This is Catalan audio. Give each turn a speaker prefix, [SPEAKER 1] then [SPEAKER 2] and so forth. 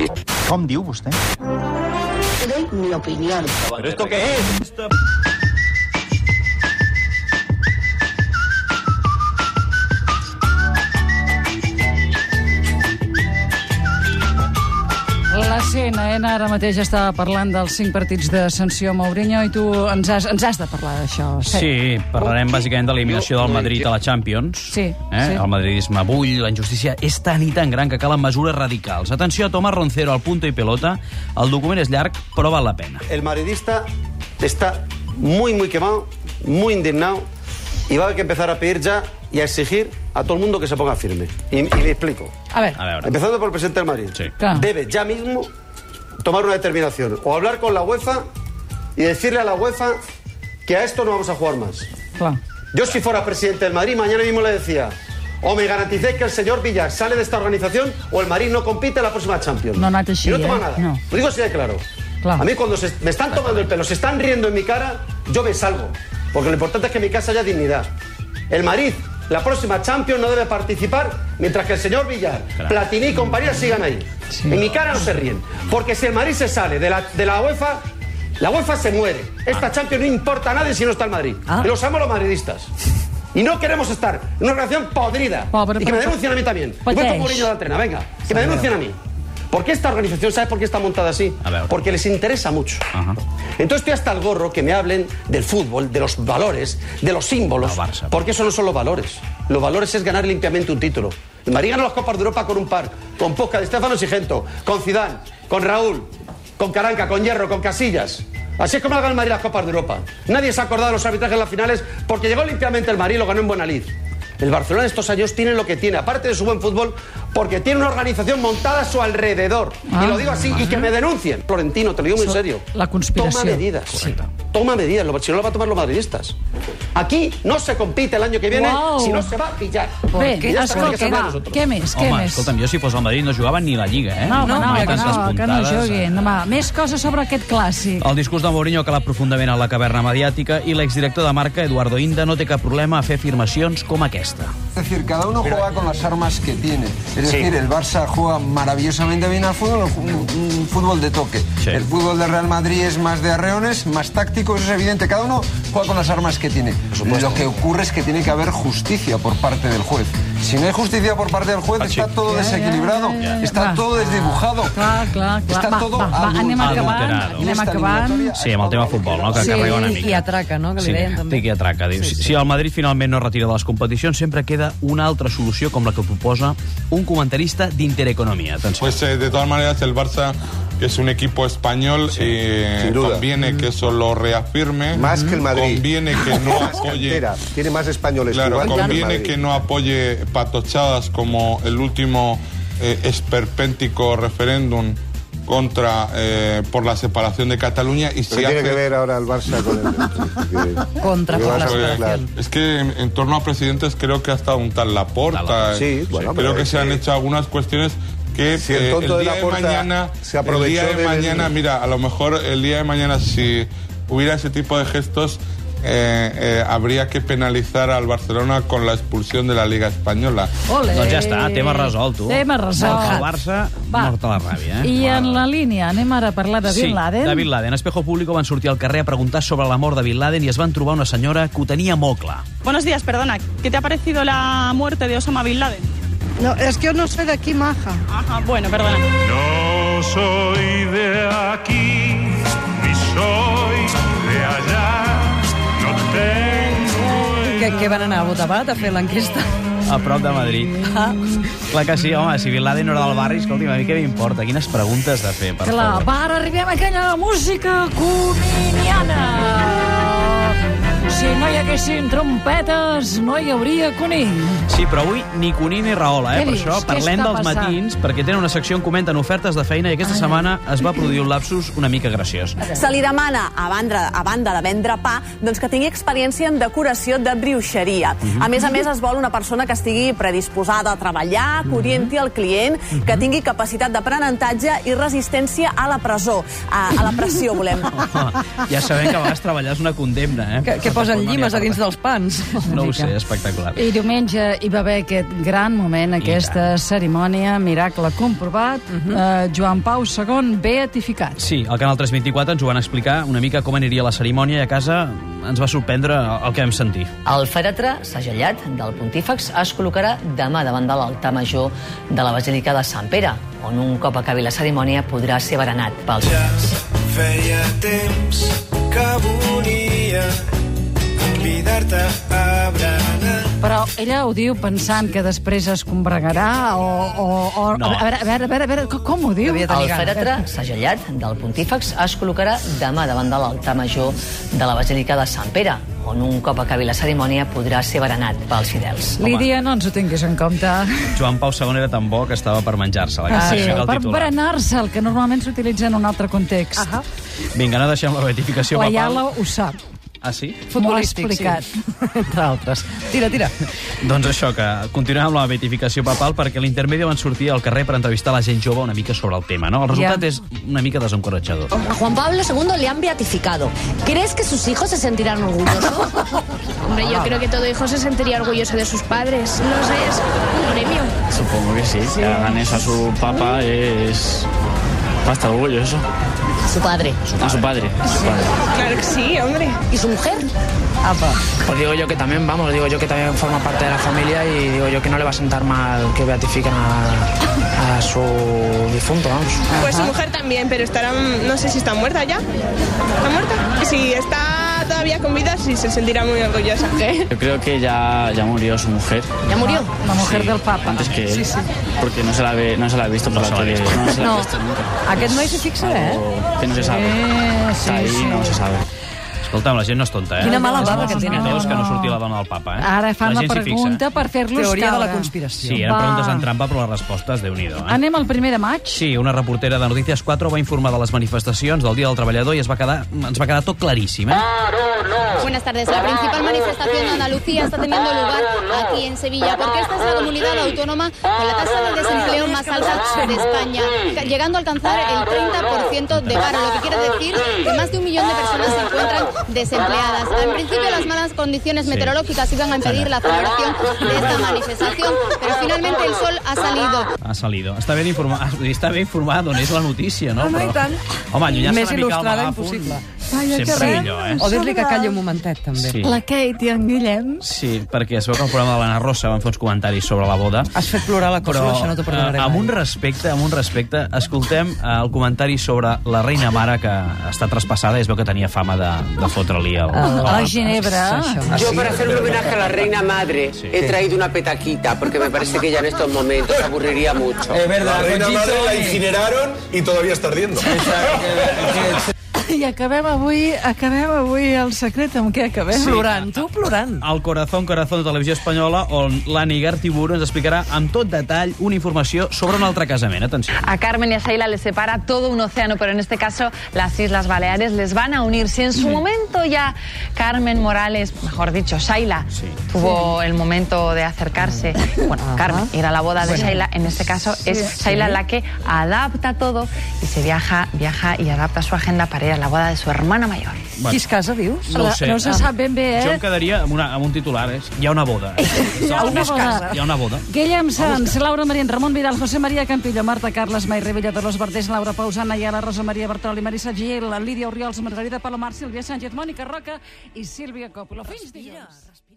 [SPEAKER 1] I... Com diu vostè?
[SPEAKER 2] Doy mi opinión.
[SPEAKER 3] ¿Pero esto qué es?
[SPEAKER 4] La CNN ara mateix està parlant dels cinc partits de sanció a Mourinho i tu ens has, ens has de parlar d'això.
[SPEAKER 3] Sí, parlarem bàsicament de l'eliminació del Madrid a la Champions.
[SPEAKER 4] Sí,
[SPEAKER 3] eh?
[SPEAKER 4] sí.
[SPEAKER 3] El madridisme bull, la injustícia és tan i tan gran que calen mesures radicals. Atenció a Tomás Roncero, al punto i pelota. El document és llarg, però val la pena.
[SPEAKER 5] El madridista está muy, muy quemado, muy indignado y va a haber que empezar a pedir ya y a exigir a todo el mundo que se ponga firme. Y, y me explico.
[SPEAKER 4] A veure,
[SPEAKER 3] A veure.
[SPEAKER 5] Empezando por el presidente del Madrid.
[SPEAKER 3] Sí.
[SPEAKER 4] Claro.
[SPEAKER 5] Debe ya mismo tomar una determinación o hablar con la UEFA y decirle a la UEFA que a esto no vamos a jugar más.
[SPEAKER 4] clar.
[SPEAKER 5] Yo si fuera presidente del Madrid mañana mismo le decía o me garanticéis que el señor Villar sale de esta organización o el Madrid no compite en la próxima Champions.
[SPEAKER 4] No, no te sigue,
[SPEAKER 5] Y no toma
[SPEAKER 4] ¿eh?
[SPEAKER 5] nada.
[SPEAKER 4] No.
[SPEAKER 5] Lo digo así de claro.
[SPEAKER 4] Claro.
[SPEAKER 5] A mí cuando se- me están tomando el pelo, se están riendo en mi cara, yo me salgo. Porque lo importante es que en mi casa haya dignidad. El Madrid, la próxima Champions no debe participar mientras que el señor Villar, Platini y compañía sigan ahí.
[SPEAKER 4] Sí.
[SPEAKER 5] En mi cara no se ríen. Porque si el Madrid se sale de la, de la UEFA, la UEFA se muere. Esta Champions no importa a nadie si no está el Madrid.
[SPEAKER 4] Ah.
[SPEAKER 5] Y Los amo los madridistas. Y no queremos estar en una relación podrida.
[SPEAKER 4] Pobre,
[SPEAKER 5] y que me
[SPEAKER 4] pobre.
[SPEAKER 5] denuncien a mí también.
[SPEAKER 4] Pues
[SPEAKER 5] Igual que
[SPEAKER 4] es.
[SPEAKER 5] Mourinho de la trena, venga. Que me denuncien a mí. Porque esta organización, ¿sabes por qué está montada así?
[SPEAKER 3] A ver.
[SPEAKER 5] Porque les interesa mucho.
[SPEAKER 3] Ajá.
[SPEAKER 5] Entonces estoy hasta el gorro que me hablen del fútbol, de los valores, de los símbolos.
[SPEAKER 3] No, Barça.
[SPEAKER 5] Porque eso no son los valores. Los valores es ganar limpiamente un título. El Madrid ganó las Copas de Europa con un par, con Posca de Stefano Sigento, con Zidane, con Raúl, con Caranca, con Hierro, con Casillas. Así es como la gana el Madrid las Copas de Europa. Nadie se ha acordado de los arbitrajes en las finales porque llegó limpiamente el Madrid y lo ganó en Buenalid. El Barcelona de estos años tiene lo que tiene, aparte de su buen fútbol, porque tiene una organización montada a su alrededor.
[SPEAKER 4] Ah,
[SPEAKER 5] y lo digo así, y que me denuncien. Florentino, te lo digo muy
[SPEAKER 4] Eso-
[SPEAKER 5] serio.
[SPEAKER 4] la conspiración.
[SPEAKER 5] Toma medidas.
[SPEAKER 4] Correcto.
[SPEAKER 5] Toma medidas, lo- si no lo va a tomar los madridistas. Aquí no se compite el año que viene,
[SPEAKER 4] Guau.
[SPEAKER 5] si no se va a pillar.
[SPEAKER 4] Bé,
[SPEAKER 5] Y ya está, hay que
[SPEAKER 4] escolta,
[SPEAKER 5] sacar
[SPEAKER 4] va,
[SPEAKER 5] nosotros.
[SPEAKER 4] què més, què
[SPEAKER 3] Home,
[SPEAKER 4] més?
[SPEAKER 3] escolta'm, eh? jo si fos el Madrid no jugava ni la Lliga, eh?
[SPEAKER 4] No, no, no,
[SPEAKER 3] Mai
[SPEAKER 4] que
[SPEAKER 3] tantes
[SPEAKER 4] no, que no
[SPEAKER 3] puntades.
[SPEAKER 4] juguin. Demà. Més coses sobre aquest clàssic.
[SPEAKER 3] El discurs de Mourinho ha calat profundament a la caverna mediàtica i l'exdirector de marca, Eduardo Inda, no té cap problema a fer afirmacions com aquesta.
[SPEAKER 6] Es decir, cada uno juega con las armas que tiene. Es decir, el Barça juega maravillosamente bien al fútbol, un, un fútbol de toque.
[SPEAKER 3] Sí.
[SPEAKER 6] El fútbol del Real Madrid es más de arreones, más táctico, eso es evidente. Cada uno juega con las armas que tiene. Lo que ocurre es que tiene que haber justicia por parte del juez. Si no hay justicia por parte del
[SPEAKER 3] Ah,
[SPEAKER 6] juez, está todo desequilibrado,
[SPEAKER 4] Eh, Va.
[SPEAKER 6] está todo desdibujado.
[SPEAKER 4] Clar, clar, clar.
[SPEAKER 6] Està
[SPEAKER 4] va,
[SPEAKER 6] todo
[SPEAKER 4] va, va, anem acabant,
[SPEAKER 3] adulterado.
[SPEAKER 6] En
[SPEAKER 4] anem
[SPEAKER 6] esta
[SPEAKER 4] acabant.
[SPEAKER 6] eliminatoria
[SPEAKER 3] Ah, Sí, amb el tema futbol, no? Que
[SPEAKER 7] Sí,
[SPEAKER 3] carrega una
[SPEAKER 7] i
[SPEAKER 3] mica.
[SPEAKER 7] qui atraca, no? Que li
[SPEAKER 3] sí,
[SPEAKER 7] deien, també.
[SPEAKER 3] té qui atraca. Diu, sí, sí. Si el Madrid finalment no retira de les competicions, sempre queda una altra solució com la que proposa un comentarista d'Intereconomia. Atenció.
[SPEAKER 8] Pues eh, de todas maneras el Barça que es un equipo español eh,
[SPEAKER 9] sin duda.
[SPEAKER 8] conviene que eso lo reafirme
[SPEAKER 9] Más que el Madrid.
[SPEAKER 8] conviene que no
[SPEAKER 9] Más
[SPEAKER 8] apoye
[SPEAKER 9] cantera, tiene más españoles
[SPEAKER 8] claro,
[SPEAKER 9] jugando el
[SPEAKER 8] conviene
[SPEAKER 9] Madrid.
[SPEAKER 8] que no apoye patochadas como el último eh, esperpéntico referéndum contra eh, por la separación de Cataluña y si
[SPEAKER 9] Pero tiene
[SPEAKER 8] hace-
[SPEAKER 9] que ver ahora el Barça con el... que-
[SPEAKER 7] Contra
[SPEAKER 9] que
[SPEAKER 7] por
[SPEAKER 9] vas
[SPEAKER 7] la
[SPEAKER 9] a ver,
[SPEAKER 8] Porque
[SPEAKER 9] claro.
[SPEAKER 8] Es que en, en torno a presidentes creo que hasta un tal Laporta. eh,
[SPEAKER 3] Laporta.
[SPEAKER 9] Sí, bueno,
[SPEAKER 8] creo
[SPEAKER 9] pero
[SPEAKER 8] que
[SPEAKER 9] es
[SPEAKER 8] se han
[SPEAKER 9] que-
[SPEAKER 8] hecho algunas cuestiones que eh,
[SPEAKER 9] Si el tonto de
[SPEAKER 8] día
[SPEAKER 9] Laporta
[SPEAKER 8] de mañana,
[SPEAKER 9] se aprovechó
[SPEAKER 8] el día de
[SPEAKER 9] del-
[SPEAKER 8] mañana, mira, a lo mejor el día de mañana si hubiera ese tipo de gestos eh, eh, habría que penalizar al Barcelona con la expulsión de la Liga española.
[SPEAKER 4] Ole.
[SPEAKER 3] Doncs ja està, tema resolt, tu.
[SPEAKER 4] Tema resolt.
[SPEAKER 3] El Barça, mort a la ràbia, eh?
[SPEAKER 4] I en la línia anem ara a parlar de Bin Laden.
[SPEAKER 3] Sí, de Bin Laden. Espejo Público van sortir al carrer a preguntar sobre la mort de Bin Laden i es van trobar una senyora que ho tenia molt clar.
[SPEAKER 10] Buenos días, perdona. ¿Qué te ha parecido la muerte de Osama Bin Laden?
[SPEAKER 11] No, es que yo no soy de aquí, maja.
[SPEAKER 10] Ajá, bueno, perdona.
[SPEAKER 8] No soy de aquí, ni soy de allá, no
[SPEAKER 7] Que, que van anar a Botabat a fer l'enquesta.
[SPEAKER 3] A prop de Madrid.
[SPEAKER 7] Ah.
[SPEAKER 3] Clar que sí, home, si Bin Laden no era del barri, escolti'm, a mi què m'importa? Quines preguntes de fer, per
[SPEAKER 4] Clar,
[SPEAKER 3] favor.
[SPEAKER 4] va, ara arribem a aquella música coniniana. Si no hi haguessin trompetes, no hi hauria conill.
[SPEAKER 3] Sí, però avui ni Cuní ni Rahola, eh?
[SPEAKER 4] Què
[SPEAKER 3] Per
[SPEAKER 4] dius?
[SPEAKER 3] això
[SPEAKER 4] Què
[SPEAKER 3] parlem
[SPEAKER 4] està
[SPEAKER 3] dels
[SPEAKER 4] passant?
[SPEAKER 3] matins, perquè tenen una secció on comenten ofertes de feina i aquesta setmana es va produir un lapsus una mica graciós.
[SPEAKER 12] Se li demana, a banda, a banda de vendre pa, doncs que tingui experiència en decoració de brioixeria. A més a més, es vol una persona que estigui predisposada a treballar, que orienti el client, que tingui capacitat d'aprenentatge i resistència a la presó. A, a la pressió, volem.
[SPEAKER 3] Oh, Home, ja sabem que a vegades treballar és una condemna, eh?
[SPEAKER 7] Que, que posen
[SPEAKER 3] no n'hi ha
[SPEAKER 7] llimes a
[SPEAKER 3] per
[SPEAKER 7] dins dels pans.
[SPEAKER 3] No ho sé, espectacular.
[SPEAKER 4] I diumenge hi va haver aquest gran moment, aquesta cerimònia, miracle comprovat,
[SPEAKER 7] Mhm.
[SPEAKER 4] eh, Joan Pau II beatificat.
[SPEAKER 3] Sí, al Canal 324 ens ho van explicar una mica com aniria la cerimònia i a casa ens va sorprendre el que vam sentir.
[SPEAKER 1] El fèretre segellat del pontífex es col·locarà demà davant de l'altar major de la Basílica de Sant Pere, on un cop acabi la cerimònia podrà ser berenat pels...
[SPEAKER 13] Feia temps que volia convidar-te a berenar.
[SPEAKER 4] Però ella ho diu pensant que després es combregarà o... o, o
[SPEAKER 1] No.
[SPEAKER 4] A veure, a veure, a veure, a veure, com- com ho diu?
[SPEAKER 1] El fèretre segellat del pontífex es col·locarà demà davant de l'altar major de la Basílica de Sant Pere, on un cop acabi la cerimònia podrà ser berenat pels fidels.
[SPEAKER 4] Lídia, no ens ho tinguis en compte.
[SPEAKER 3] Joan Pau II era tan bo que estava per menjar-se-la. que
[SPEAKER 4] Ah, sí,
[SPEAKER 3] era Ah, el
[SPEAKER 4] per
[SPEAKER 3] titular.
[SPEAKER 4] berenar-se'l, que normalment s'utilitza en un altre context. Ah
[SPEAKER 3] Vinga, no deixem la beatificació
[SPEAKER 4] la
[SPEAKER 3] papal.
[SPEAKER 4] Iala ho sap.
[SPEAKER 3] Ah, sí?
[SPEAKER 4] M'ho ha
[SPEAKER 7] Futbolístic, sí.
[SPEAKER 4] explicat.
[SPEAKER 7] Entre altres. Tira, tira.
[SPEAKER 3] Doncs això, que continuem amb la beatificació papal perquè a l'intermedi van sortir al carrer per entrevistar la gent jove una mica sobre el tema, no? El resultat
[SPEAKER 14] Ja.
[SPEAKER 3] és una mica desencoratjador.
[SPEAKER 14] A Juan Pablo II le han beatificado. ¿Crees que sus hijos se sentirán orgullosos?
[SPEAKER 15] Hombre, yo creo que todo hijo se sentiría orgulloso de sus padres. No sé, es un premio.
[SPEAKER 16] Supongo que sí, que hagan eso a su papá es... Va a estar orgulloso.
[SPEAKER 14] Su padre.
[SPEAKER 16] A su padre. a su padre.
[SPEAKER 14] Claro que sí, hombre. ¿Y su mujer?
[SPEAKER 16] Pues digo yo que también, vamos, digo yo que también forma parte de la familia y digo yo que no le va a sentar mal que beatifiquen a, a su difunto, vamos.
[SPEAKER 17] Pues su mujer también, pero estará, no sé si está muerta ya. ¿Está muerta? Si está todavía con vida, sí se sentirá muy orgullosa.
[SPEAKER 16] Yo creo que ya, ya murió su mujer.
[SPEAKER 4] Ja murió? La mujer del papa.
[SPEAKER 16] Antes que él, porque no se la ve, no se la ha visto por la tele,
[SPEAKER 4] Eh,
[SPEAKER 16] no se la ha
[SPEAKER 7] No.
[SPEAKER 16] visto nunca.
[SPEAKER 7] Aquest noi s'hi fixa, eh?
[SPEAKER 16] Que no se sabe.
[SPEAKER 7] Eh,
[SPEAKER 16] Está
[SPEAKER 7] sí,
[SPEAKER 16] ahí,
[SPEAKER 7] sí.
[SPEAKER 16] no se sabe.
[SPEAKER 3] Escolta'm, la gent no és tonta, eh?
[SPEAKER 7] Quina mala baba que tenen.
[SPEAKER 3] Sospitós que no surti la dona del papa, eh?
[SPEAKER 4] Ara fan la,
[SPEAKER 3] gent s'hi fixa.
[SPEAKER 4] pregunta per fer-los caure.
[SPEAKER 7] Teoria de la conspiració.
[SPEAKER 3] Sí, eren
[SPEAKER 4] Va.
[SPEAKER 3] preguntes en trampa, però les respostes, déu nhi eh?
[SPEAKER 4] Anem al primer de maig.
[SPEAKER 3] Sí, una reportera de Notícies 4 va informar de les manifestacions del Dia del Treballador i es va quedar, ens va quedar tot claríssim, eh?
[SPEAKER 18] Buenas tardes. La principal manifestación de Andalucía está teniendo lugar aquí en Sevilla porque esta es la comunidad autónoma con la tasa de desempleo más alta de España, ca- llegando a alcanzar el 30% de paro, lo que quiere decir que más de un millón de personas se encuentran desempleadas. En principio las malas condiciones meteorológicas iban a impedir la celebración de esta manifestación, pero finalmente el sol ha salido.
[SPEAKER 3] Ha salido. Està ben informat, ah, vull dir, està ben informat on és la notícia,
[SPEAKER 7] Ah,
[SPEAKER 3] no? Però- Home, allunyar-se
[SPEAKER 7] Més
[SPEAKER 3] una mica al
[SPEAKER 7] il·lustrada
[SPEAKER 3] megàfon...
[SPEAKER 7] impossible.
[SPEAKER 3] Sempre millor, eh?
[SPEAKER 7] O dir-li que calli un momentet, també.
[SPEAKER 3] Sí. La
[SPEAKER 7] Kate i en Guillem.
[SPEAKER 3] Sí, perquè es veu que el programa de l'Anna Rosa van fer uns comentaris sobre la boda.
[SPEAKER 7] Has fet plorar la cosa,
[SPEAKER 3] Però,
[SPEAKER 7] això no t'ho perdonaré
[SPEAKER 3] eh, amb un respecte, amb un respecte, escoltem eh, el comentari sobre la reina mare que està traspassada i es veu que tenia fama de, de fotre-li el...
[SPEAKER 7] Ah,
[SPEAKER 3] el-
[SPEAKER 19] Yo para hacer un homenaje a la reina madre he traído una petaquita porque me parece que ya en estos momentos aburriría mucho.
[SPEAKER 20] La reina madre la incineraron y todavía está ardiendo.
[SPEAKER 4] I acabem avui, acabem avui el secret amb què acabem?
[SPEAKER 3] Sí.
[SPEAKER 4] Plorant, tu plorant.
[SPEAKER 3] Al Corazón Corazón de Televisió Espanyola, on l'Anna Igartiburu ens explicarà amb tot detall una informació sobre un altre casament. Atenció.
[SPEAKER 21] A
[SPEAKER 7] Ah.
[SPEAKER 21] Carmen y a Sheila les separa todo un océano, pero en este caso las Islas Baleares les van a unir. Si en su momento ya Carmen Morales, mejor dicho, Sheila, tuvo el momento de acercarse, bueno, Carmen, ir a la boda de
[SPEAKER 22] Sí.
[SPEAKER 21] Sheila, en este caso es
[SPEAKER 22] Ah. Sí.
[SPEAKER 21] Sheila la que adapta todo y se viaja, viaja y adapta su agenda para ir a la boda de su hermana mayor.
[SPEAKER 3] Bueno. Qui es casa,
[SPEAKER 21] dius?
[SPEAKER 3] No ho sé.
[SPEAKER 4] eh?
[SPEAKER 3] Jo em quedaria amb, una, amb un titular, eh? Hi ha una boda.
[SPEAKER 4] Hi ha una boda.
[SPEAKER 3] Hi ha una boda.
[SPEAKER 4] Guillem Sans, Laura Marín, Ramon Vidal, José María Campillo, Marta Carles, Mai Rivella de los Verders, Laura Pausana, Iala, Rosa Maria Bartoli, Marisa Gil, Lídia Oriols, Margarida Palomar, Sílvia Sánchez, Mònica Roca i Sílvia Coppola. Fins dilluns.